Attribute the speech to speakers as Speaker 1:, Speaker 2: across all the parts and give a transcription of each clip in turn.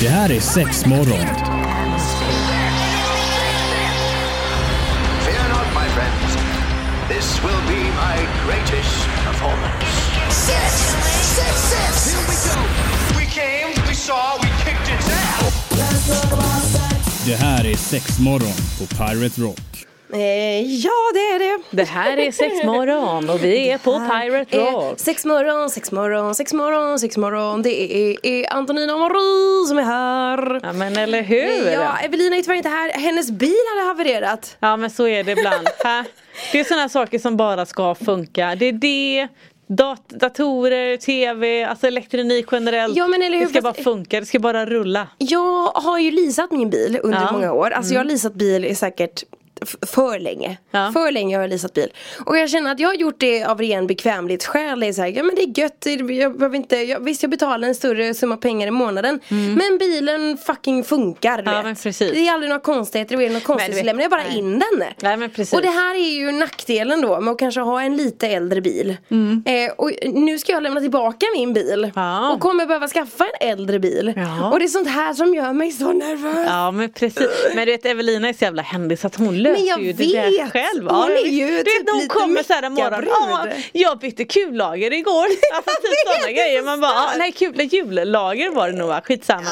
Speaker 1: Det här är sex morgon.
Speaker 2: Fear not, my friends. This will be my greatest performance.
Speaker 3: Six, six, six. Here we go.
Speaker 2: We came, we saw, we kicked its ass.
Speaker 1: Det här är sex morgon på Pirate Rock.
Speaker 4: Eh, ja, det är det.
Speaker 5: Det här är Sexmorgon och vi är på Pirate
Speaker 4: Eh,
Speaker 5: Rock.
Speaker 4: sex morgon, sex morgon, sex morgon, sex morgon. Det är, är Antonina och Marie som är här.
Speaker 5: Ja men eller hur?
Speaker 4: Ja, Evelina är tyvärr inte här. Hennes bil hade havererat.
Speaker 5: Ja men så är det ibland. Ha. Det är sådana saker som bara ska funka. Det är det, dat- datorer, tv, alltså elektronik generellt.
Speaker 4: Ja, men eller hur?
Speaker 5: det ska bara
Speaker 4: Fast-
Speaker 5: funka, det ska bara rulla.
Speaker 4: Jag har ju leasat min bil under
Speaker 5: Ja. Mm.
Speaker 4: många år. Alltså jag har leasat bil i säkert f- för länge.
Speaker 5: Ja.
Speaker 4: För länge har jag leasat bil. Och jag känner att jag har gjort det av ren bekvämlighetsskäl. Det är så här, ja men det är gött. det- Jag behöver inte, jag, visst jag betalar en större summa pengar i månaden. Men bilen fucking funkar. du
Speaker 5: Mm. Ja,
Speaker 4: vet.
Speaker 5: men precis.
Speaker 4: Det är aldrig några konstigheter. Det är något konstigt
Speaker 5: vet-
Speaker 4: så lämnar jag bara
Speaker 5: nej.
Speaker 4: in den.
Speaker 5: Nej, men precis.
Speaker 4: Och det här är ju nackdelen då med att kanske ha en lite äldre bil. Eh, och nu ska jag lämna tillbaka min bil.
Speaker 5: Mm. Ja.
Speaker 4: Och kommer behöva skaffa en äldre bil.
Speaker 5: Ja.
Speaker 4: Och det är sånt här som gör mig så nervös.
Speaker 5: Ja men precis. Men du vet Evelina är så jävla händig så att hon löser
Speaker 4: Men jag
Speaker 5: ju det där
Speaker 4: vet.
Speaker 5: själv.
Speaker 4: Hon är ju
Speaker 5: du
Speaker 4: typ
Speaker 5: vet när hon
Speaker 4: lite
Speaker 5: kommer så här en morgon. Ja,
Speaker 4: meckabrud.
Speaker 5: jag bytte kullager igår. Alltså
Speaker 4: Jag
Speaker 5: typ
Speaker 4: vet,
Speaker 5: sådana
Speaker 4: det är
Speaker 5: grejer.
Speaker 4: så
Speaker 5: Man bara, ja,
Speaker 4: stört.
Speaker 5: nej kul, jullager var det nog va? Skitsamma.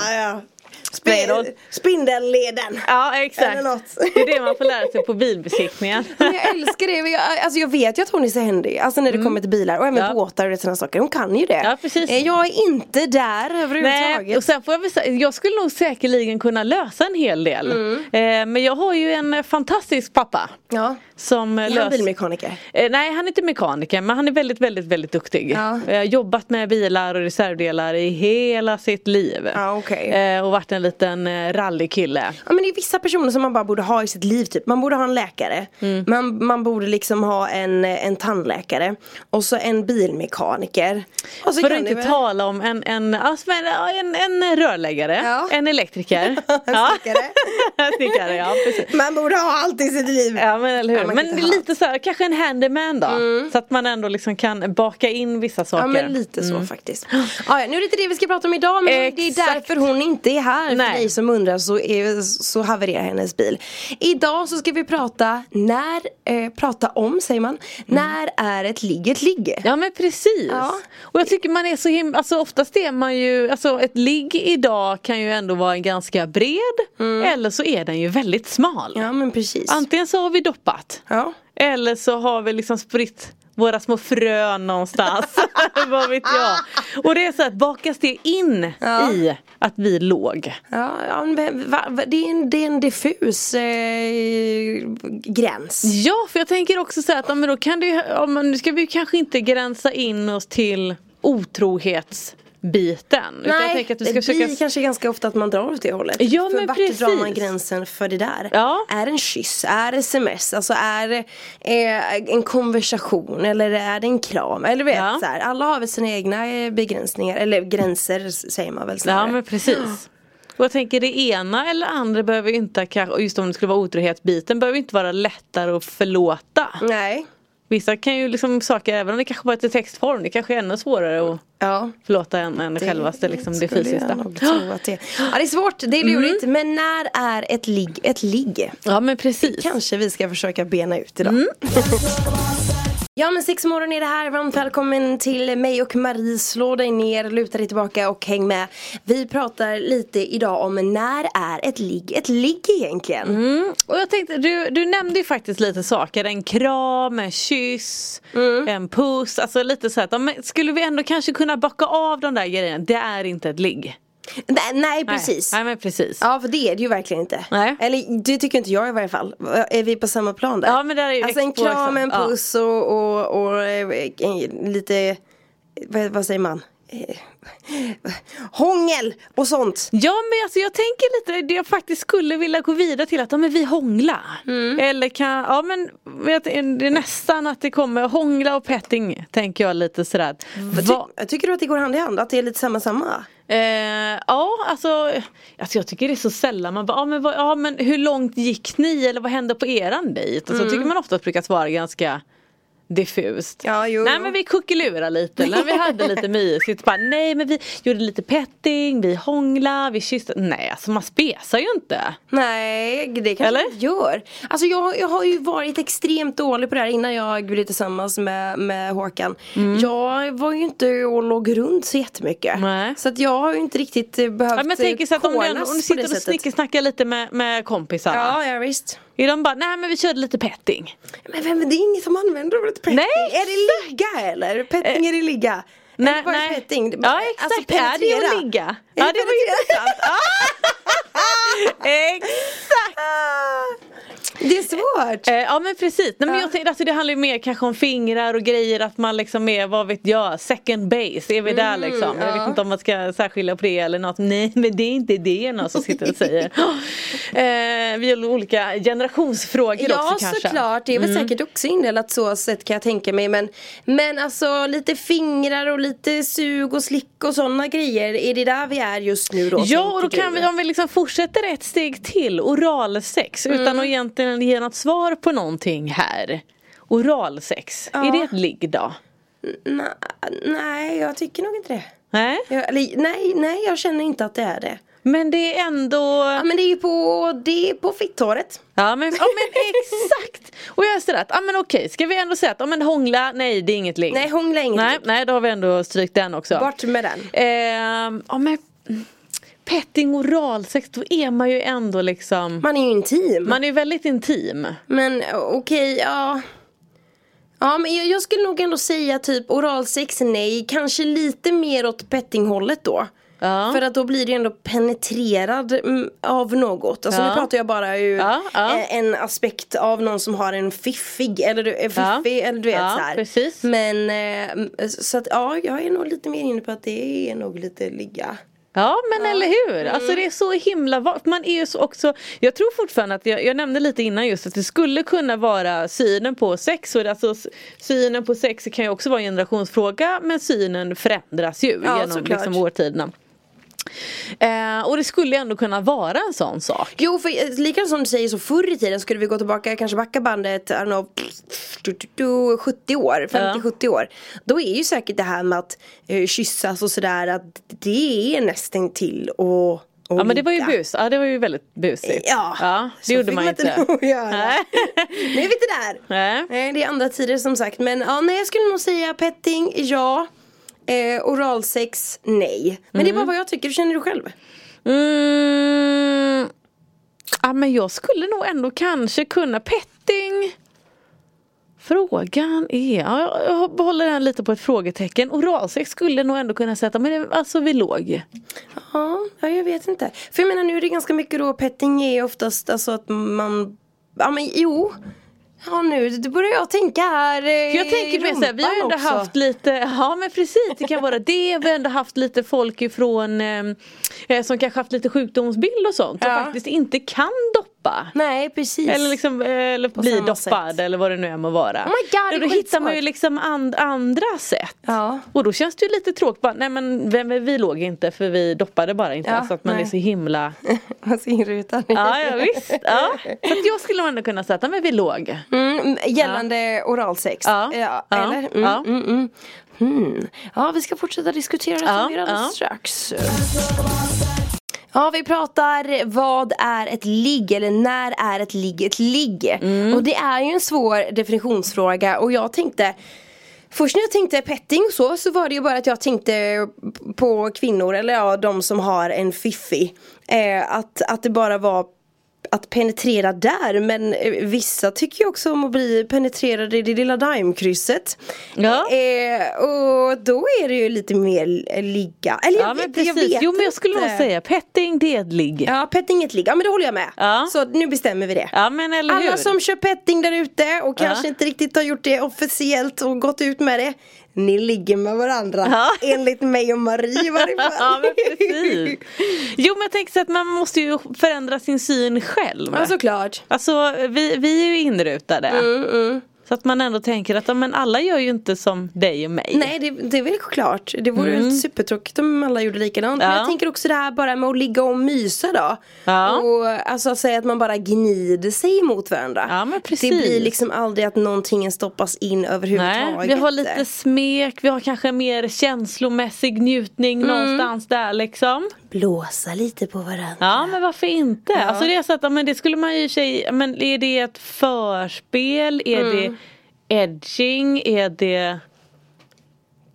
Speaker 5: Spelar roll.
Speaker 4: spindelleden.
Speaker 5: Ja exakt.
Speaker 4: Eller något.
Speaker 5: Det är det man får lära sig på bilbesiktningen.
Speaker 4: Men jag älskar det, jag, alltså jag vet ju att hon är så händig, alltså när det kommer till bilar och även
Speaker 5: Mm. Ja.
Speaker 4: båtar och sådana saker, hon kan ju det
Speaker 5: Ja, precis.
Speaker 4: Eh, Jag är inte där överhuvudtaget
Speaker 5: Nej, och sen får jag väl säga, jag skulle nog säkerligen kunna lösa en hel del.
Speaker 4: Mm.
Speaker 5: Eh, men jag har ju en eh, fantastisk pappa.
Speaker 4: ja.
Speaker 5: Som
Speaker 4: Är
Speaker 5: löser
Speaker 4: han bilmekaniker?
Speaker 5: Eh, nej han är inte mekaniker men han är väldigt väldigt väldigt duktig.
Speaker 4: Ja.
Speaker 5: Eh, jobbat med bilar och reservdelar i hela sitt liv.
Speaker 4: Ja, okej.
Speaker 5: eh, och varit en liten eh, rallykille.
Speaker 4: Ja men det är vissa personer som man bara borde ha i sitt liv typ. Man borde ha en läkare.
Speaker 5: Mm.
Speaker 4: Man, man borde liksom ha en, en tandläkare. Och så en bilmekaniker. Och så
Speaker 5: För
Speaker 4: kan
Speaker 5: att
Speaker 4: ni
Speaker 5: inte
Speaker 4: väl-
Speaker 5: tala om en, en, alltså, men, ja, en, en rörläggare,
Speaker 4: Ja.
Speaker 5: en elektriker.
Speaker 4: En
Speaker 5: Ja.
Speaker 4: snickare.
Speaker 5: Snickare, ja precis.
Speaker 4: Man borde ha allt i sitt liv.
Speaker 5: Ja men eller hur.
Speaker 4: Ja, man kan
Speaker 5: men
Speaker 4: inte ha Mm.
Speaker 5: lite så här, kanske en handyman då. Så att man ändå liksom kan baka in vissa saker.
Speaker 4: Ja men lite
Speaker 5: Mm.
Speaker 4: så faktiskt. Ah, ja, nu är det inte det vi ska prata om idag men det är
Speaker 5: Exakt.
Speaker 4: därför hon inte är här.
Speaker 5: Nej.
Speaker 4: För dig som undrar så, är, så havererar hennes bil. Idag så ska vi prata när, eh, prata om säger man, när är ett ligg ett ligg?
Speaker 5: Mm. Ja men precis.
Speaker 4: Ja.
Speaker 5: Och jag tycker man är så himla, alltså oftast är man ju, alltså ett ligg idag kan ju ändå vara en ganska bred eller så är den ju väldigt smal.
Speaker 4: Mm. Ja men precis.
Speaker 5: Antingen så har vi doppat
Speaker 4: ja.
Speaker 5: eller så har vi liksom spritt våra små frön någonstans. Vad vet jag. Och det är så att bakas det in
Speaker 4: Ja.
Speaker 5: i att vi låg.
Speaker 4: Ja, ja men vem- va, va, det, är en, det är en diffus eh, gräns.
Speaker 5: Ja, för jag tänker också så här att ja, men då kan det ju, ja, men nu ska vi ju kanske inte gränsa in oss till otrohetsbiten. utan jag tänker att vi ska
Speaker 4: det
Speaker 5: försöka
Speaker 4: blir kanske ganska ofta att man drar åt det hållet.
Speaker 5: Ja,
Speaker 4: för
Speaker 5: men
Speaker 4: vart
Speaker 5: precis.
Speaker 4: drar man gränsen för det där?
Speaker 5: Ja.
Speaker 4: Är det en kyss? Är det sms? Alltså är det eh, en konversation? Eller är det en kram? Eller vet,
Speaker 5: Ja.
Speaker 4: så här, alla har väl sina egna eh, begränsningar, eller gränser s- säger man väl
Speaker 5: Ja
Speaker 4: snarare.
Speaker 5: men precis. Och jag tänker det ena eller andra behöver ju inte, kanske- och just om det skulle vara otrohetsbiten, behöver ju inte vara lättare att förlåta.
Speaker 4: Nej.
Speaker 5: Vissa kan ju liksom saker, även om det kanske bara är i textform, det kanske är ännu svårare att
Speaker 4: Ja.
Speaker 5: förlåta än, än det, självaste liksom, det
Speaker 4: skulle jag
Speaker 5: fysiska. Mm.
Speaker 4: nog tro att det. Ja, det är svårt, det är lurigt. Men när är ett ligg ett ligg?
Speaker 5: Ja men precis.
Speaker 4: Kanske vi ska försöka bena ut idag.
Speaker 5: Mm.
Speaker 4: Ja men sex morgon är det här, varmt välkommen till mig och Marie. Slå dig ner, luta dig tillbaka och häng med. Vi pratar lite idag om när är ett ligg ett ligg egentligen?
Speaker 5: Mm. Och jag tänkte, du, du nämnde ju faktiskt lite saker, en kram, en kyss,
Speaker 4: Mm.
Speaker 5: en puss, alltså lite så här att, ja, men skulle vi ändå kanske kunna bocka av de där grejerna, det är inte ett ligg.
Speaker 4: Nej, nej
Speaker 5: Nej.
Speaker 4: precis.
Speaker 5: Nej men precis.
Speaker 4: Ja för det är det ju verkligen inte.
Speaker 5: Nej.
Speaker 4: Eller det tycker inte jag i varje fall. Är vi på samma plan där?
Speaker 5: Ja, men där är ju
Speaker 4: alltså en
Speaker 5: Expo
Speaker 4: kram,
Speaker 5: också.
Speaker 4: en
Speaker 5: Ja.
Speaker 4: puss och, och, och eh, eh, lite, vad, vad säger man? Eh, Hångel och sånt.
Speaker 5: Ja men alltså jag tänker lite, det jag faktiskt skulle vilja gå vidare till att ja, men vi hångla.
Speaker 4: Mm.
Speaker 5: Eller kan, ja men vet, det är nästan att det kommer hångla och petting tänker jag lite sådär. Va,
Speaker 4: Ty, tycker du att det går hand i hand? Att det är lite samma samma?
Speaker 5: eh, ja alltså, alltså jag tycker det är så sällan man bara, ja men, vad, ja, men
Speaker 4: Mm.
Speaker 5: hur långt gick ni eller vad hände på eran dejt? Alltså, Jag tycker man ofta brukar svara ganska diffust.
Speaker 4: Ja, jo,
Speaker 5: nej
Speaker 4: jo.
Speaker 5: men vi kuckelurade lite när vi hade lite mysigt. Bara, nej men vi gjorde lite petting, vi hånglade, vi kysste. Nej alltså man spesar ju inte.
Speaker 4: Nej, det kanske
Speaker 5: Eller?
Speaker 4: jag inte gör. Alltså jag, jag har ju varit extremt dålig på det här innan jag blev tillsammans med, med Håkan. Jag var ju inte och låg runt så jättemycket.
Speaker 5: Nej.
Speaker 4: Så att jag har ju inte riktigt eh, behövt eh,
Speaker 5: Ja, men tänk så att om du, ändå- om du sitter och snickersnackar lite med, med kompisarna.
Speaker 4: Ja, ja visst.
Speaker 5: Är de bara, nej men vi körde lite petting.
Speaker 4: Men vem, det är ingen som använder ordet petting.
Speaker 5: Nej,
Speaker 4: är det ligga eller? Petting är det ligga. eller vad är petting? Det-
Speaker 5: Ja exakt, är det ju
Speaker 4: penetrera.
Speaker 5: att ligga?
Speaker 4: Är
Speaker 5: Ja det var ju
Speaker 4: penetrera?
Speaker 5: intressant. Ah! exakt! Ah.
Speaker 4: Det är svårt.
Speaker 5: Eh, Ja men precis, Nej, men
Speaker 4: Ja.
Speaker 5: jag tänkte, alltså, det handlar ju mer kanske om fingrar och grejer att man liksom är, vad vet jag, second base,
Speaker 4: Mm,
Speaker 5: är vi där liksom? Jag vet inte om man ska särskilja på det eller något, nej men det är inte det någon som sitter och säger. eh, vi har olika generationsfrågor
Speaker 4: Ja
Speaker 5: också kanske. Mm.
Speaker 4: såklart, det är väl säkert också indelat så sett kan jag tänka mig men Men alltså lite fingrar och lite sug och slick och sådana grejer Är det där vi är just nu då?
Speaker 5: Ja och då
Speaker 4: tänker
Speaker 5: kan
Speaker 4: du?
Speaker 5: vi, om vi liksom fortsätter ett steg till, oralsex utan
Speaker 4: Mm.
Speaker 5: att egentligen ge något svar på någonting här. Oralsex, är det ett ligg då?
Speaker 4: Na, nej jag tycker nog inte det
Speaker 5: Nej,
Speaker 4: jag, eller, nej, nej jag känner inte att det är det
Speaker 5: men det är ändå...
Speaker 4: Ja men det är ju på, det är på fitthåret
Speaker 5: Ja men, ja, men exakt! Och jag är sådär att, ja men okej, ska vi ändå säga att, ja men hångla, nej det är inget ligg.
Speaker 4: Nej hångla är inget
Speaker 5: nej, nej, då har vi ändå strykt den också.
Speaker 4: Bort med den.
Speaker 5: Ehm, ja men mm, petting oralsex, då är man ju ändå liksom,
Speaker 4: Man är ju intim
Speaker 5: man är ju väldigt intim.
Speaker 4: Men okej, ja. Ja men jag, jag skulle nog ändå säga typ oralsex nej, kanske lite mer åt pettinghållet då.
Speaker 5: Ja.
Speaker 4: För att då blir det ändå penetrerad mm, av något. Alltså nu
Speaker 5: Ja.
Speaker 4: pratar jag bara ur
Speaker 5: Ja, ja.
Speaker 4: eh, en aspekt av någon som har en fiffig eller du, eh, fiffig, eller du vet
Speaker 5: Ja,
Speaker 4: så här.
Speaker 5: precis.
Speaker 4: Men eh, m- så att ja, jag är nog lite mer inne på att det är nog lite ligga.
Speaker 5: Ja men eller hur,
Speaker 4: Mm.
Speaker 5: alltså det är så himla va- man är ju så också Jag tror fortfarande att, jag, jag nämnde lite innan just att det skulle kunna vara synen på sex och det- alltså, s- Synen på sex kan ju också vara en generationsfråga men synen förändras ju
Speaker 4: Ja,
Speaker 5: genom
Speaker 4: såklart.
Speaker 5: liksom, årtiderna eh, Och det skulle ju ändå kunna vara en sån sak
Speaker 4: Jo för eh, likadant som du säger så förr i tiden skulle vi gå tillbaka kanske backa bandet I don't know, du, du, du, 70 år, 50-70 år Då är ju säkert det här med att eh, kyssas och sådär att det är nästan till och, och
Speaker 5: Ja men det var ju bus, ja det var ju väldigt busigt
Speaker 4: Ja,
Speaker 5: det
Speaker 4: så
Speaker 5: gjorde
Speaker 4: fick
Speaker 5: man
Speaker 4: man
Speaker 5: inte
Speaker 4: inte nog göra.
Speaker 5: Nej.
Speaker 4: Nu är vi inte där!
Speaker 5: Nej.
Speaker 4: Nej det är andra tider som sagt men ja nej jag skulle nog säga petting ja eh, Oralsex nej Men det är bara vad jag tycker, hur känner du själv?
Speaker 5: Mm. Ja, men jag skulle nog ändå kanske kunna petting. Frågan är, ja, jag behåller den lite på ett frågetecken. Oralsex skulle nog ändå kunna sätta, men det, alltså vi låg.
Speaker 4: Ja, ja, jag vet inte. För jag menar nu är det ganska mycket då petting är oftast alltså att man, ja men jo. Ja nu det börjar jag tänka här eh,
Speaker 5: Jag
Speaker 4: i
Speaker 5: tänker mer såhär, vi har ju ändå
Speaker 4: rumpan också.
Speaker 5: haft lite, ja men precis det kan vara det. Vi har ändå haft lite folk ifrån eh, eh, som kanske haft lite sjukdomsbild och sånt.
Speaker 4: Ja.
Speaker 5: Och faktiskt inte kan doppa.
Speaker 4: Nej precis.
Speaker 5: Eller, liksom, eh, eller bli
Speaker 4: samma
Speaker 5: doppad
Speaker 4: sätt.
Speaker 5: eller vad det nu är må vara.
Speaker 4: Oh my God, det är
Speaker 5: då hittar man ju
Speaker 4: skitsvårt.
Speaker 5: liksom and, andra sätt.
Speaker 4: Ja.
Speaker 5: Och då känns det ju lite tråkigt. Bara, nej men vem, vi låg inte för vi doppade bara inte.
Speaker 4: Ja,
Speaker 5: alltså att man
Speaker 4: nej.
Speaker 5: är så himla.
Speaker 4: Man ser inrutan.
Speaker 5: Ja, ja visst. Ja. Så att jag skulle ändå kunna säga att nej, men vi låg.
Speaker 4: Mm, gällande oralsex.
Speaker 5: Ja.
Speaker 4: Ja,
Speaker 5: Ja.
Speaker 4: Eller? Mm,
Speaker 5: Ja.
Speaker 4: Mm, mm. Hmm. ja vi ska fortsätta diskutera det
Speaker 5: Ja.
Speaker 4: som vi gör alldeles
Speaker 5: Ja.
Speaker 4: strax. Ja vi pratar vad är ett ligg eller när är ett ligg ett ligg?
Speaker 5: Mm.
Speaker 4: Och det är ju en svår definitionsfråga och jag tänkte Först när jag tänkte petting och så, så var det ju bara att jag tänkte på kvinnor eller ja, de som har en fiffi. Eh, att, att det bara var att penetrera där men eh, vissa tycker ju också om att bli penetrerade i det lilla daimkrysset.
Speaker 5: Ja.
Speaker 4: Eh, och då är det ju lite mer ligga. Eller jag,
Speaker 5: Ja men
Speaker 4: vet, jag
Speaker 5: precis.
Speaker 4: vet
Speaker 5: Jo men jag skulle nog
Speaker 4: inte.
Speaker 5: säga petting det är ett ligg. Ja.
Speaker 4: Ja, petting är ett ligg. Ja men det håller jag med.
Speaker 5: Ja.
Speaker 4: Så nu bestämmer vi det.
Speaker 5: men eller hur.
Speaker 4: Alla som kör petting där ute och kanske inte riktigt har gjort det officiellt och gått ut med det Ni ligger med varandra
Speaker 5: Ja.
Speaker 4: enligt mig och Marie i varje fall
Speaker 5: Ja men precis. Jo men jag tänker så att man måste ju
Speaker 4: Alltså,
Speaker 5: förändra sin syn själv.
Speaker 4: Ja såklart Mm,
Speaker 5: Alltså vi, vi är ju inrutade. Så att man ändå tänker att ja, men alla gör ju inte som dig och mig.
Speaker 4: Nej det, det är väl klart. Det vore ju supertråkigt om alla gjorde likadant. Men
Speaker 5: Mm. Ja.
Speaker 4: jag tänker också det här bara med att ligga och mysa då.
Speaker 5: Ja.
Speaker 4: Och alltså säga att man bara gnider sig mot varandra.
Speaker 5: Ja, men precis.
Speaker 4: Det blir liksom aldrig att någonting stoppas in överhuvudtaget.
Speaker 5: Nej, vi har lite smek, vi har kanske mer känslomässig
Speaker 4: Mm.
Speaker 5: njutning någonstans där liksom.
Speaker 4: Blåsa lite på varandra.
Speaker 5: Ja men varför inte? Alltså det är så att, ja, men det skulle man ju i och för sig, men är det ett förspel? Är
Speaker 4: Mm.
Speaker 5: det edging? Är det...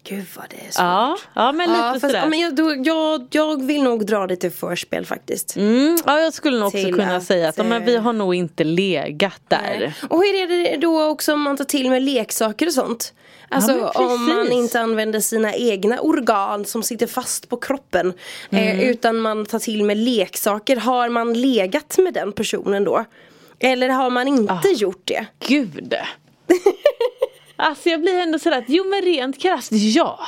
Speaker 4: Gud vad det är så.
Speaker 5: Ja, ja men
Speaker 4: Ja,
Speaker 5: lite
Speaker 4: fast,
Speaker 5: sådär.
Speaker 4: ja, men jag, då, jag, jag vill nog dra det till förspel faktiskt.
Speaker 5: Mm, ja, jag skulle nog också
Speaker 4: Till
Speaker 5: kunna
Speaker 4: att,
Speaker 5: säga att ja, men
Speaker 4: eh,
Speaker 5: vi har nog inte legat där.
Speaker 4: Nej. Och hur är det då också om man tar till med leksaker och sånt? Alltså
Speaker 5: men precis.
Speaker 4: om man inte använder sina egna organ som sitter fast på kroppen.
Speaker 5: Mm.
Speaker 4: Eh, utan man tar till med leksaker. Har man legat med den personen då? Eller har man inte
Speaker 5: Ah.
Speaker 4: gjort det?
Speaker 5: Gud! alltså jag blir ändå sådär att jo men rent krasst ja.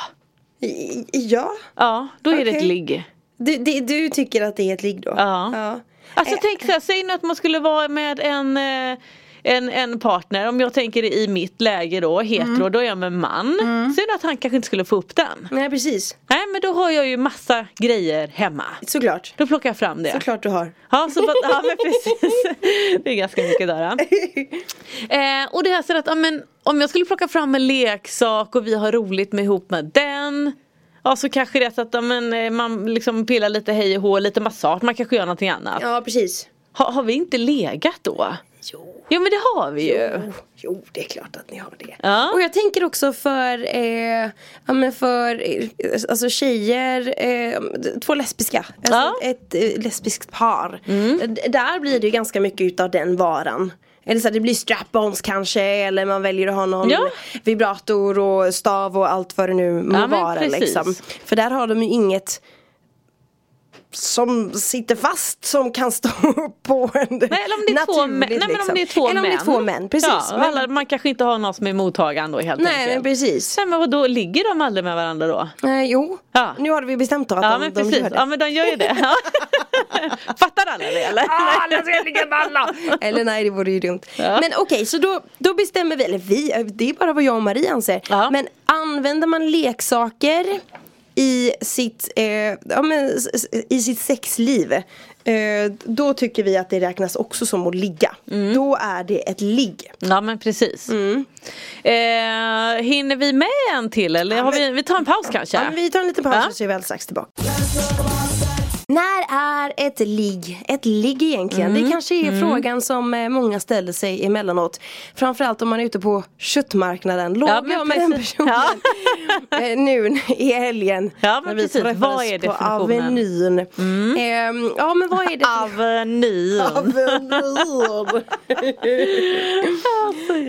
Speaker 4: I- Ja,
Speaker 5: Ja, då är det ett
Speaker 4: Okej.
Speaker 5: ligg.
Speaker 4: du, det- du tycker att det är ett ligg då?
Speaker 5: Ja. Alltså
Speaker 4: Eh,
Speaker 5: tänk så här, säg nu att man skulle vara med en, eh, en, en partner, om jag tänker i mitt läge då, hetero,
Speaker 4: Mm.
Speaker 5: då är jag med en man. Säg nu att han kanske inte skulle få upp den.
Speaker 4: Nej precis,
Speaker 5: Nej men då har jag ju massa grejer hemma.
Speaker 4: såklart.
Speaker 5: Då plockar jag fram det.
Speaker 4: Såklart du har.
Speaker 5: Ja, så bara, ja men precis. Det är ganska mycket där. ja. Eh, och det här så att ja, men, om jag skulle plocka fram en leksak och vi har roligt med ihop med den. Ja så kanske det är så att ja, men, eh, man liksom pillar lite hej och hå, lite massage, man kanske gör någonting annat.
Speaker 4: Ja precis.
Speaker 5: Ha, har vi inte legat då?
Speaker 4: Jo.
Speaker 5: Jo men det har vi ju.
Speaker 4: Jo, Jo, det är klart att ni har det.
Speaker 5: Ja.
Speaker 4: Och jag tänker också för, eh, ja, men för eh, alltså tjejer, eh, två lesbiska, alltså
Speaker 5: Ja. Mm.
Speaker 4: ett eh, lesbiskt par. Eh, D- Där blir det ju ganska mycket utav den varan. Eller så här, det blir strap-ons kanske eller man väljer att ha någon
Speaker 5: Ja.
Speaker 4: vibrator och stav och allt vad det nu må
Speaker 5: Ja, men
Speaker 4: vara.
Speaker 5: precis.
Speaker 4: Liksom. För där har de ju inget som sitter fast som kan stå på en
Speaker 5: Nej, eller om det är två män.
Speaker 4: naturligt,
Speaker 5: Nej, men om
Speaker 4: liksom.
Speaker 5: det är två
Speaker 4: Eller om
Speaker 5: män.
Speaker 4: det är två män, precis.
Speaker 5: Ja, och
Speaker 4: Men-
Speaker 5: alla, man kanske inte har någon som är mottagaren då helt
Speaker 4: Nej
Speaker 5: enkelt.
Speaker 4: men precis.
Speaker 5: Nej men vadå, ligger de aldrig med varandra då?
Speaker 4: Eh, jo,
Speaker 5: Ja.
Speaker 4: nu har vi bestämt då att
Speaker 5: Ja
Speaker 4: de,
Speaker 5: men
Speaker 4: de
Speaker 5: precis,
Speaker 4: gör det.
Speaker 5: ja men de gör ju det. Ja. Fattar alla det eller?
Speaker 4: Ah, alla ska ligga med alla! Eller nej det vore ju dumt. Men okej så då, då bestämmer vi, eller vi, eh, det är bara vad jag och Marie anser.
Speaker 5: Ja.
Speaker 4: Men använder man leksaker i sitt, eh, ja, men, s- s- i sitt sexliv eh, Då tycker vi att det räknas också som att ligga.
Speaker 5: Mm.
Speaker 4: Då är det ett ligg. Mm.
Speaker 5: Ja men precis. Eh, hinner vi med en till eller? har vi, vi tar en paus kanske?
Speaker 4: Ja, men vi tar en liten paus
Speaker 5: Ja.
Speaker 4: och så är vi alldeles strax tillbaka. När är ett ligg ett ligg egentligen?
Speaker 5: Mm.
Speaker 4: Det kanske är frågan som eh, många ställer sig emellanåt. Framförallt om man är ute på köttmarknaden. Låg
Speaker 5: Ja, men
Speaker 4: jag med den
Speaker 5: precis.
Speaker 4: personen
Speaker 5: Ja.
Speaker 4: eh, nu i helgen?
Speaker 5: Ja, men
Speaker 4: När vi
Speaker 5: precis.
Speaker 4: träffades
Speaker 5: Vad är
Speaker 4: på
Speaker 5: definitionen?
Speaker 4: Avenyn.
Speaker 5: Mm.
Speaker 4: Ehm, ja men vad är det?
Speaker 5: Avenyn.
Speaker 4: Avenyn.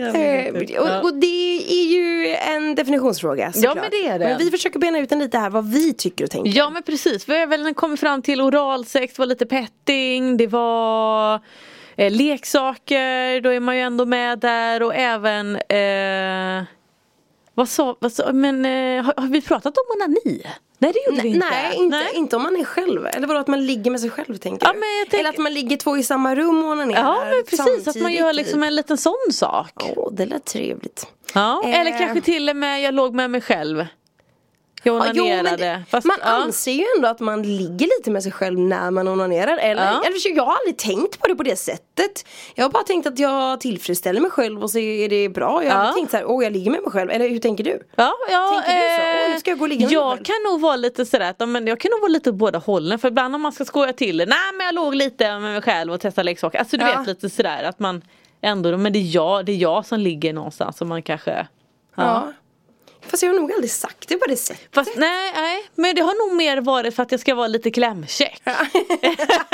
Speaker 4: Eh, och, och det är ju en definitionsfråga såklart.
Speaker 5: men det är det.
Speaker 4: Men vi försöker bena ut den lite här vad vi tycker och tänker.
Speaker 5: Ja men precis, vi har väl kommit fram till oralsex, det var lite petting, det var eh, leksaker, då är man ju ändå med där och även eh, vad sa, vad sa men eh, har, har vi pratat om onani? Nej det gjorde vi
Speaker 4: Nej,
Speaker 5: inte.
Speaker 4: nej, inte, inte om man är själv. Eller vadå att man ligger med sig själv tänker
Speaker 5: Ja,
Speaker 4: du?
Speaker 5: men jag tänker-
Speaker 4: Eller att man ligger två i samma rum och onanerar
Speaker 5: Ja men precis, att man
Speaker 4: samtidigt typ.
Speaker 5: gör
Speaker 4: i-
Speaker 5: liksom en liten sån sak.
Speaker 4: Åh, det lät trevligt.
Speaker 5: Ja.
Speaker 4: Eh.
Speaker 5: Eller kanske till och med jag låg med mig själv. Jag
Speaker 4: Ja, jo,
Speaker 5: onanerade.
Speaker 4: men det,
Speaker 5: Fast,
Speaker 4: man
Speaker 5: ja.
Speaker 4: anser ju ändå att man ligger lite med sig själv när man onanerar. Eller,
Speaker 5: Ja.
Speaker 4: eller för sig, jag har aldrig tänkt på det på det sättet. Jag har bara tänkt att jag tillfredsställer mig själv och så är det bra. Jag har
Speaker 5: Ja.
Speaker 4: aldrig tänkt så här, åh jag ligger med mig själv. Eller hur tänker du?
Speaker 5: Ja, ja,
Speaker 4: Tänker du så?
Speaker 5: eh,
Speaker 4: Åh, nu ska jag gå och ligga med mig
Speaker 5: jag
Speaker 4: själv.
Speaker 5: kan nog vara lite sådär att ja, men jag kan nog vara lite åt båda hållen för ibland om man ska skoja till det, nej men jag låg lite med mig själv och testade leksaker. Alltså du
Speaker 4: Ja.
Speaker 5: vet lite sådär att man ändå, men det är jag, det är jag som ligger någonstans och man kanske ja.
Speaker 4: Ja. Fast jag har nog aldrig sagt det på det sättet.
Speaker 5: Fast nej, nej, men det har nog mer varit för att jag ska vara lite klämkäck. jag är så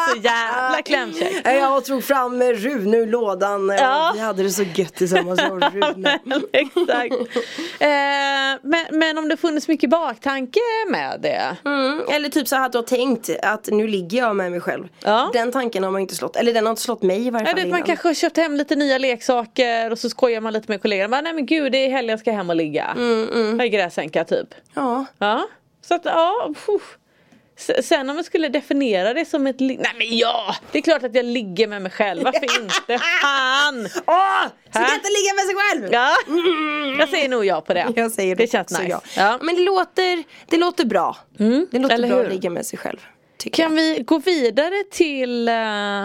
Speaker 5: Alltså, jävla klämkäck.
Speaker 4: Jag tog fram Rune ur lådan
Speaker 5: Ja.
Speaker 4: vi hade det så gött tillsammans jag och Rune.
Speaker 5: Exakt. Eh, men, men om det funnits mycket baktanke med det.
Speaker 4: Mm, eller typ så här att du har tänkt att nu ligger jag med mig själv.
Speaker 5: Ja.
Speaker 4: Den tanken har man inte slått, eller den har inte slått mig i varje
Speaker 5: Ja,
Speaker 4: fall
Speaker 5: du vet, man
Speaker 4: innan.
Speaker 5: kanske har köpt hem lite nya leksaker och så skojar man lite med kollegorna. Bara, Nej men gud det är helgen jag ska hem och ligga. Mm, mm. Gräsänka typ.
Speaker 4: Ja.
Speaker 5: Ja. Så att ja. Puh. S- Sen om jag skulle definiera det som ett... li- Nej men ja! Det är klart att jag ligger med mig själv, varför inte? Fan!
Speaker 4: Åh! Ska
Speaker 5: Hä?
Speaker 4: inte ligga med sig själv?
Speaker 5: Ja. Jag säger nog ja på det.
Speaker 4: Jag säger
Speaker 5: det
Speaker 4: också
Speaker 5: känns nice.
Speaker 4: ja.
Speaker 5: Ja. Mm,
Speaker 4: Men det låter, det låter bra. Det låter
Speaker 5: eller
Speaker 4: bra
Speaker 5: hur?
Speaker 4: att ligga med sig själv. Tycker
Speaker 5: Kan vi gå vidare till eh,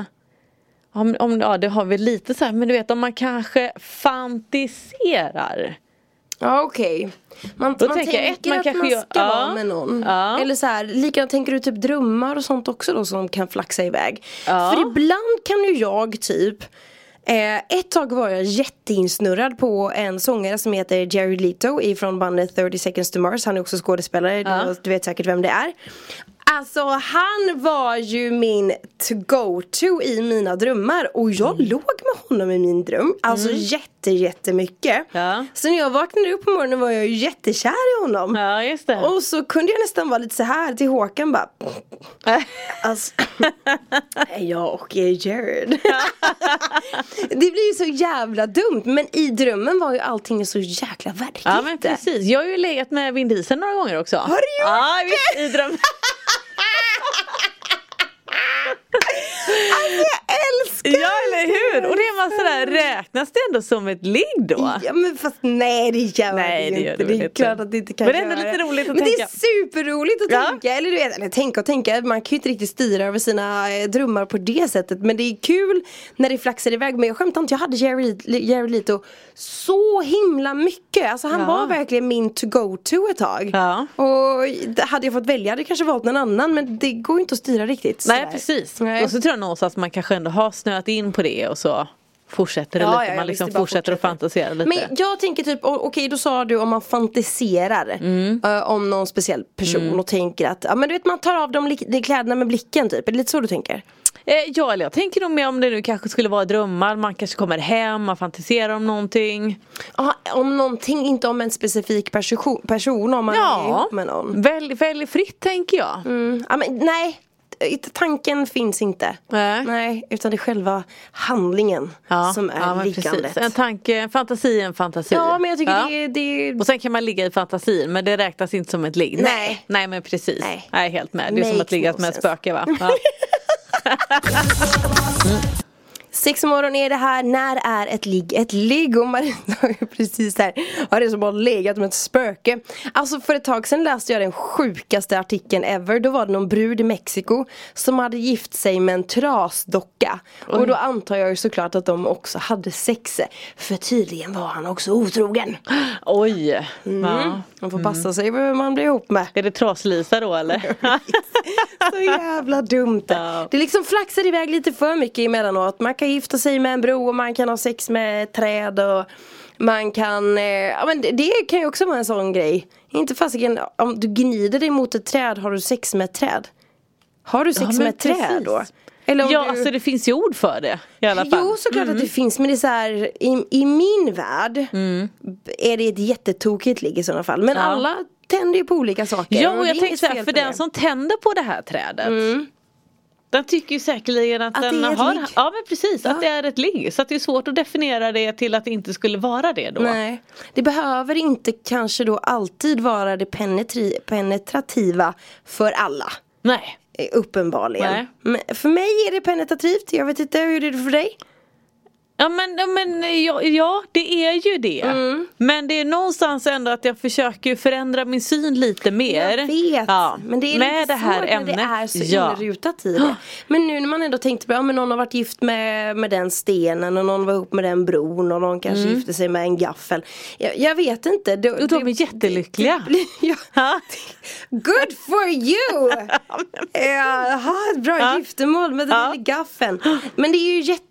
Speaker 5: om, om, ja, det har vi lite så här, men du vet om man kanske fantiserar.
Speaker 4: jag. Ja okej. Man,
Speaker 5: Då
Speaker 4: man
Speaker 5: tänker
Speaker 4: tänker
Speaker 5: jag, ett, man
Speaker 4: att
Speaker 5: kanske
Speaker 4: man
Speaker 5: gör-
Speaker 4: ska
Speaker 5: ja.
Speaker 4: vara med någon.
Speaker 5: Ja.
Speaker 4: Eller så här, likadant tänker du typ drömmar och sånt också då som kan flaxa iväg.
Speaker 5: Ja.
Speaker 4: För ibland kan ju jag typ Eh, ett tag var jag jätteinsnurrad på en sångare som heter Jerry Leto ifrån bandet 30 seconds to Mars. Han är också skådespelare, du, du vet säkert vem det är. Alltså han var ju min to go-to i mina drömmar och jag
Speaker 5: Mm.
Speaker 4: låg med honom i min dröm. Alltså jätte jättemycket.
Speaker 5: Ja.
Speaker 4: Så när jag vaknade upp på morgonen var jag ju jättekär i honom.
Speaker 5: Ja just det.
Speaker 4: Och så kunde jag nästan vara lite så här till Håkan bara Alltså, jag och Jared. det blir ju så jävla dumt men i drömmen var ju allting så jäkla verkligt.
Speaker 5: ja men precis, jag har ju legat med Vin Diesel några gånger också. Har
Speaker 4: du gjort
Speaker 5: ja, visst, i dröm.
Speaker 4: Jag älskar
Speaker 5: Ja eller hur! Och det är man sådär, räknas det ändå som ett ligg då?
Speaker 4: Ja men fast nej det gör
Speaker 5: Nej,
Speaker 4: det
Speaker 5: det gör
Speaker 4: inte.
Speaker 5: det väl
Speaker 4: Det är
Speaker 5: inte.
Speaker 4: klart att det inte kan
Speaker 5: Men det är ändå
Speaker 4: göra
Speaker 5: lite roligt att
Speaker 4: Men det
Speaker 5: tänka.
Speaker 4: är superroligt att
Speaker 5: Ja.
Speaker 4: tänka. Eller du vet, eller tänka och tänka. Man kan ju inte riktigt styra över sina eh, drömmar på det sättet. Men det är kul när det flaxar iväg. Men jag skämtar inte, jag hade Jerry, Jerry Lito så himla mycket. Alltså han
Speaker 5: Ja.
Speaker 4: var verkligen min to go to ett tag.
Speaker 5: Ja.
Speaker 4: Och det- hade jag fått välja hade jag kanske valt någon annan. Men det går ju inte att styra riktigt.
Speaker 5: Nej
Speaker 4: sådär.
Speaker 5: precis.
Speaker 4: Nej.
Speaker 5: Och så tror jag någonstans att man kanske ändå har snöat in på det och så fortsätter det
Speaker 4: Ja,
Speaker 5: lite.
Speaker 4: ja, ja,
Speaker 5: man
Speaker 4: visst,
Speaker 5: liksom
Speaker 4: det bara
Speaker 5: fortsätter att
Speaker 4: fortsätter.
Speaker 5: fantisera lite.
Speaker 4: Men jag tänker typ, o- okej då sa du om man fantiserar
Speaker 5: Mm.
Speaker 4: eh, om någon speciell person och tänker att, ja men du vet man tar av dem li- de kläderna med blicken typ, är det lite så du tänker?
Speaker 5: Eh, ja, eller jag tänker nog mer om det nu kanske skulle vara drömmar, man kanske kommer hem, man fantiserar om någonting.
Speaker 4: Ja, om någonting, inte om en specifik person, person om man är
Speaker 5: Ja,
Speaker 4: ihop med någon.
Speaker 5: välj, välj fritt tänker jag.
Speaker 4: Mm. Ja, men, nej, eh, tanken finns inte.
Speaker 5: Nej.
Speaker 4: nej utan det är själva handlingen
Speaker 5: Ja,
Speaker 4: som är
Speaker 5: ja, men
Speaker 4: liggandet.
Speaker 5: precis. En tanke, en fantasi är en fantasi.
Speaker 4: Ja men jag tycker
Speaker 5: Ja.
Speaker 4: det, är- det är
Speaker 5: Och sen kan man ligga i fantasin men det räknas inte som ett ligg.
Speaker 4: Nej.
Speaker 5: Nej men precis.
Speaker 4: Nej.
Speaker 5: Jag är helt med. Det är som
Speaker 4: Makes
Speaker 5: att ligga
Speaker 4: no
Speaker 5: med ett
Speaker 4: sense.
Speaker 5: spöke va? Ja.
Speaker 4: Sex om morgonen är det här, när är ett ligg ett ligg? Och Marina har ju precis här, har det som har legat med ett spöke. Alltså för ett tag sedan läste jag den sjukaste artikeln ever. Då var det någon brud i Mexiko som hade gift sig med en trasdocka. Och då antar jag ju såklart att de också hade sex. För tydligen var han också otrogen. Mm.
Speaker 5: Oj. Ja. Mm.
Speaker 4: Man får passa sig för vem man blir ihop med.
Speaker 5: Är det traslisa då eller?
Speaker 4: Så jävla dumt.
Speaker 5: Ja.
Speaker 4: Det liksom flaxar iväg lite för mycket emellanåt. Man kan gifta sig med en bro och man kan ha sex med ett träd och man kan, eh, ja men det, det kan ju också vara en sån grej. Inte fasiken, om du gnider dig mot ett träd, har du sex med ett träd? Har du sex
Speaker 5: men
Speaker 4: med ett träd
Speaker 5: precis.
Speaker 4: då? Eller om
Speaker 5: ja
Speaker 4: du...
Speaker 5: alltså det finns ju ord för det i alla fall. Mm.
Speaker 4: Jo såklart att det finns men det är så här, i, i min värld är det ett jättetokigt ligg i sådana fall. Men
Speaker 5: Mm. Ja.
Speaker 4: alla tänder ju på olika saker.
Speaker 5: Ja
Speaker 4: det
Speaker 5: och
Speaker 4: är
Speaker 5: jag
Speaker 4: inget
Speaker 5: tänker så här,
Speaker 4: fel
Speaker 5: för
Speaker 4: på
Speaker 5: den
Speaker 4: det. Mm.
Speaker 5: som tänder på det här trädet Den tycker ju säkerligen att,
Speaker 4: Att det
Speaker 5: den
Speaker 4: är ett
Speaker 5: har
Speaker 4: ligg.
Speaker 5: Ja men precis,
Speaker 4: Ja.
Speaker 5: att det är ett ligg Så att det är svårt att definiera det till att det inte skulle vara det då
Speaker 4: Nej, det behöver inte kanske då alltid vara det penetri- penetrativa för alla.
Speaker 5: Nej.
Speaker 4: eh, Uppenbarligen.
Speaker 5: Nej.
Speaker 4: Men för mig är det penetrativt, jag vet inte hur det är för dig.
Speaker 5: Ja men, ja, men ja, ja det är ju det
Speaker 4: Mm.
Speaker 5: Men det är någonstans ändå att jag försöker ju förändra min syn lite mer
Speaker 4: Jag vet,
Speaker 5: ja.
Speaker 4: men det är
Speaker 5: Med
Speaker 4: lite
Speaker 5: det här
Speaker 4: svårt
Speaker 5: ämnet
Speaker 4: när det är så
Speaker 5: ja.
Speaker 4: inrutat i det. Men nu när man ändå tänkte på, ja men någon har varit gift med, med den stenen och någon var ihop med den bron och någon kanske gifte sig med en gaffel. Jag, jag vet inte. Det,
Speaker 5: Och de Mm. är jättelyckliga.
Speaker 4: Det, blir- ja.
Speaker 5: Ja.
Speaker 4: Good for you! Jaha, ett Eh, bra
Speaker 5: Ja.
Speaker 4: giftermål med den
Speaker 5: Ja.
Speaker 4: lilla gaffeln. Men det är ju jätte...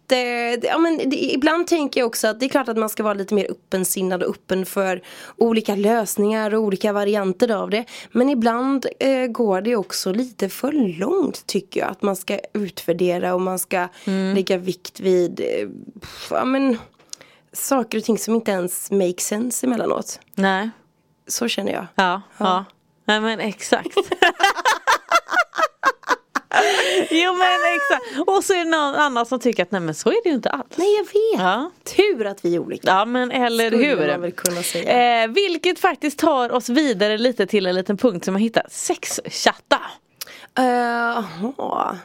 Speaker 4: Ja, men det, ibland tänker jag också att det är klart att man ska vara lite mer öppensinnad och öppen för olika lösningar och olika varianter av det. Men ibland eh, går det också lite för långt tycker jag. Att man ska utvärdera och man ska
Speaker 5: Mm.
Speaker 4: lägga vikt vid eh, pff, ja, men, saker och ting som inte ens make sense emellanåt.
Speaker 5: Nej.
Speaker 4: Så känner jag.
Speaker 5: Ja, ja. Nej men exakt. jo men exakt. Och så är det någon annan som tycker att nej men så är det ju inte alls.
Speaker 4: Nej jag vet.
Speaker 5: Ja.
Speaker 4: Tur att vi är olika.
Speaker 5: Ja men eller
Speaker 4: Skulle
Speaker 5: hur.
Speaker 4: man väl kunna säga.
Speaker 5: Eh, vilket faktiskt tar oss vidare lite till en liten punkt som jag hittat. Sexchatta.
Speaker 4: Eh, Jaha.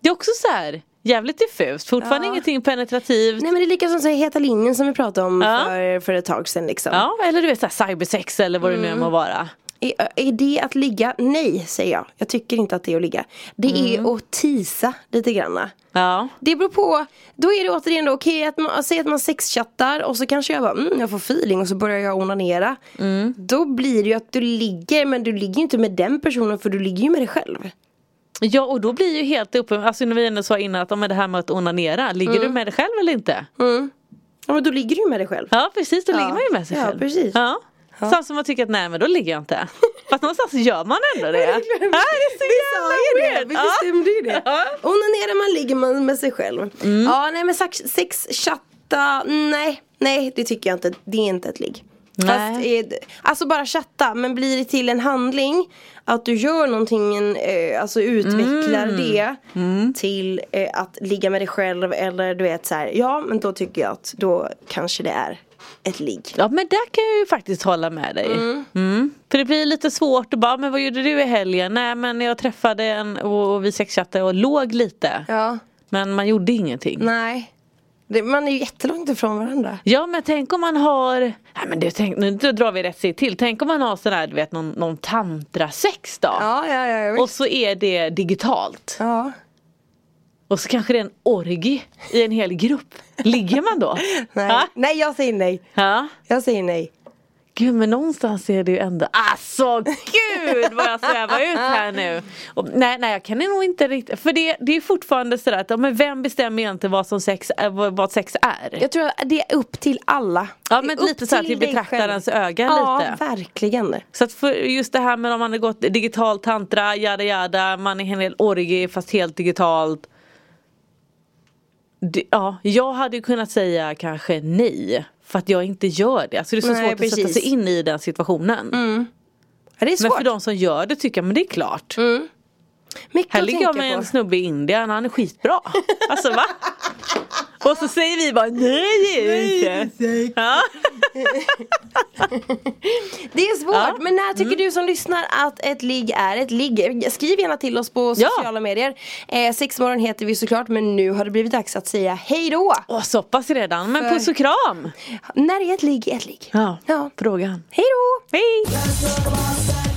Speaker 5: Det är också så här jävligt diffust, fortfarande
Speaker 4: Ja.
Speaker 5: ingenting penetrativt.
Speaker 4: Nej men det är lika som så här heta linjen som vi pratade om
Speaker 5: Ja.
Speaker 4: för, för ett tag sedan liksom.
Speaker 5: Ja, eller du vet så här cybersex eller vad det nu må vara.
Speaker 4: Är, är det att ligga? Nej säger jag. Jag tycker inte att det är att ligga. Det
Speaker 5: Mm.
Speaker 4: är att tisa lite granna.
Speaker 5: Ja.
Speaker 4: Det beror på, då är det återigen då okej att man, säg att man sexchattar och så kanske jag bara, mm, jag får feeling och så börjar jag onanera.
Speaker 5: Mm.
Speaker 4: Då blir det ju att du ligger, men du ligger ju inte med den personen för du ligger ju med dig själv.
Speaker 5: Ja och då blir ju helt uppenbart, alltså när vi ändå sa innan att ja, men det här med att onanera, ligger du med dig själv eller inte?
Speaker 4: Ja men då ligger du ju med dig själv.
Speaker 5: Ja precis, då
Speaker 4: Ja.
Speaker 5: ligger man ju med sig
Speaker 4: Ja,
Speaker 5: själv.
Speaker 4: precis.
Speaker 5: Ja. Samtidigt som man tycker att nej men då ligger jag inte. Fast någonstans gör man ändå det. Ja, det är så jävla weird.
Speaker 4: Vi
Speaker 5: Ja.
Speaker 4: bestämde ju det.
Speaker 5: Ja. Mm.
Speaker 4: Onanerar man ligger man med sig själv. Ja nej men sax- sexchatta, nej. Nej det tycker jag inte, det är inte ett ligg.
Speaker 5: Nej.
Speaker 4: Fast, eh, alltså bara chatta, men blir det till en handling Att du gör någonting, eh, alltså utvecklar
Speaker 5: Mm.
Speaker 4: det Till eh, att ligga med dig själv eller du vet så här. Ja men då tycker jag att då kanske det är ett ligg
Speaker 5: Ja men där kan jag ju faktiskt hålla med dig. Mm. För det blir lite svårt att bara, men vad gjorde du i helgen? Nej men jag träffade en och och vi sexchattade och låg lite.
Speaker 4: Ja,
Speaker 5: Men man gjorde ingenting.
Speaker 4: nej det, Man är ju jättelångt ifrån varandra
Speaker 5: Ja men tänk om man har, nej, men du, tänk, nu drar vi rätt steg till, tänk om man har sån här du vet någon, någon tantrasex då.
Speaker 4: Ja, ja, ja, ja,
Speaker 5: Och så är det digitalt.
Speaker 4: ja.
Speaker 5: Och så kanske det är en orgi i en hel grupp. Ligger man då?
Speaker 4: Nej.
Speaker 5: Ja.
Speaker 4: nej, jag säger nej.
Speaker 5: Ja.
Speaker 4: Jag säger nej.
Speaker 5: Gud men någonstans är det ju ändå, alltså gud vad jag svävar ut här nu. Och, nej nej jag kan nog inte riktigt, för det, det är ju fortfarande sådär att ja, men vem bestämmer egentligen vad, som sex, är- vad, vad sex är?
Speaker 4: Jag tror att det är upp till alla.
Speaker 5: Ja
Speaker 4: Det är
Speaker 5: men
Speaker 4: upp
Speaker 5: lite såhär till
Speaker 4: dig
Speaker 5: betraktarens
Speaker 4: själv.
Speaker 5: öga
Speaker 4: Ja,
Speaker 5: lite.
Speaker 4: verkligen.
Speaker 5: Så att för just det här med om man har gått digital tantra, yada yada, man är en hel orgi fast helt digitalt. Det, ja, jag hade ju kunnat säga kanske nej. För att jag inte gör det. Alltså det är så
Speaker 4: Nej,
Speaker 5: svårt att sätta
Speaker 4: precis.
Speaker 5: sig in i den situationen.
Speaker 4: Ja, det är
Speaker 5: men
Speaker 4: svårt.
Speaker 5: för de som gör det tycker jag, men det är klart.
Speaker 4: Mycket
Speaker 5: Här
Speaker 4: att
Speaker 5: ligger Mm, jag
Speaker 4: tänka
Speaker 5: med en
Speaker 4: på.
Speaker 5: snubbe i Indien, han är skitbra. Alltså va? Och så säger vi bara nej det är det inte. Ja.
Speaker 4: Det är svårt.
Speaker 5: Ja. Mm.
Speaker 4: Men när tycker du som lyssnar att ett ligg är ett ligg? Skriv gärna till oss på
Speaker 5: Ja.
Speaker 4: sociala medier. Eh, Sexmorgon heter vi såklart men nu har det blivit dags att säga hej då.
Speaker 5: Åh, så pass redan, men
Speaker 4: För-
Speaker 5: puss och kram.
Speaker 4: När är ett ligg ett ligg?
Speaker 5: Ja,
Speaker 4: Ja.
Speaker 5: frågan.
Speaker 4: Hej då!
Speaker 5: Hej!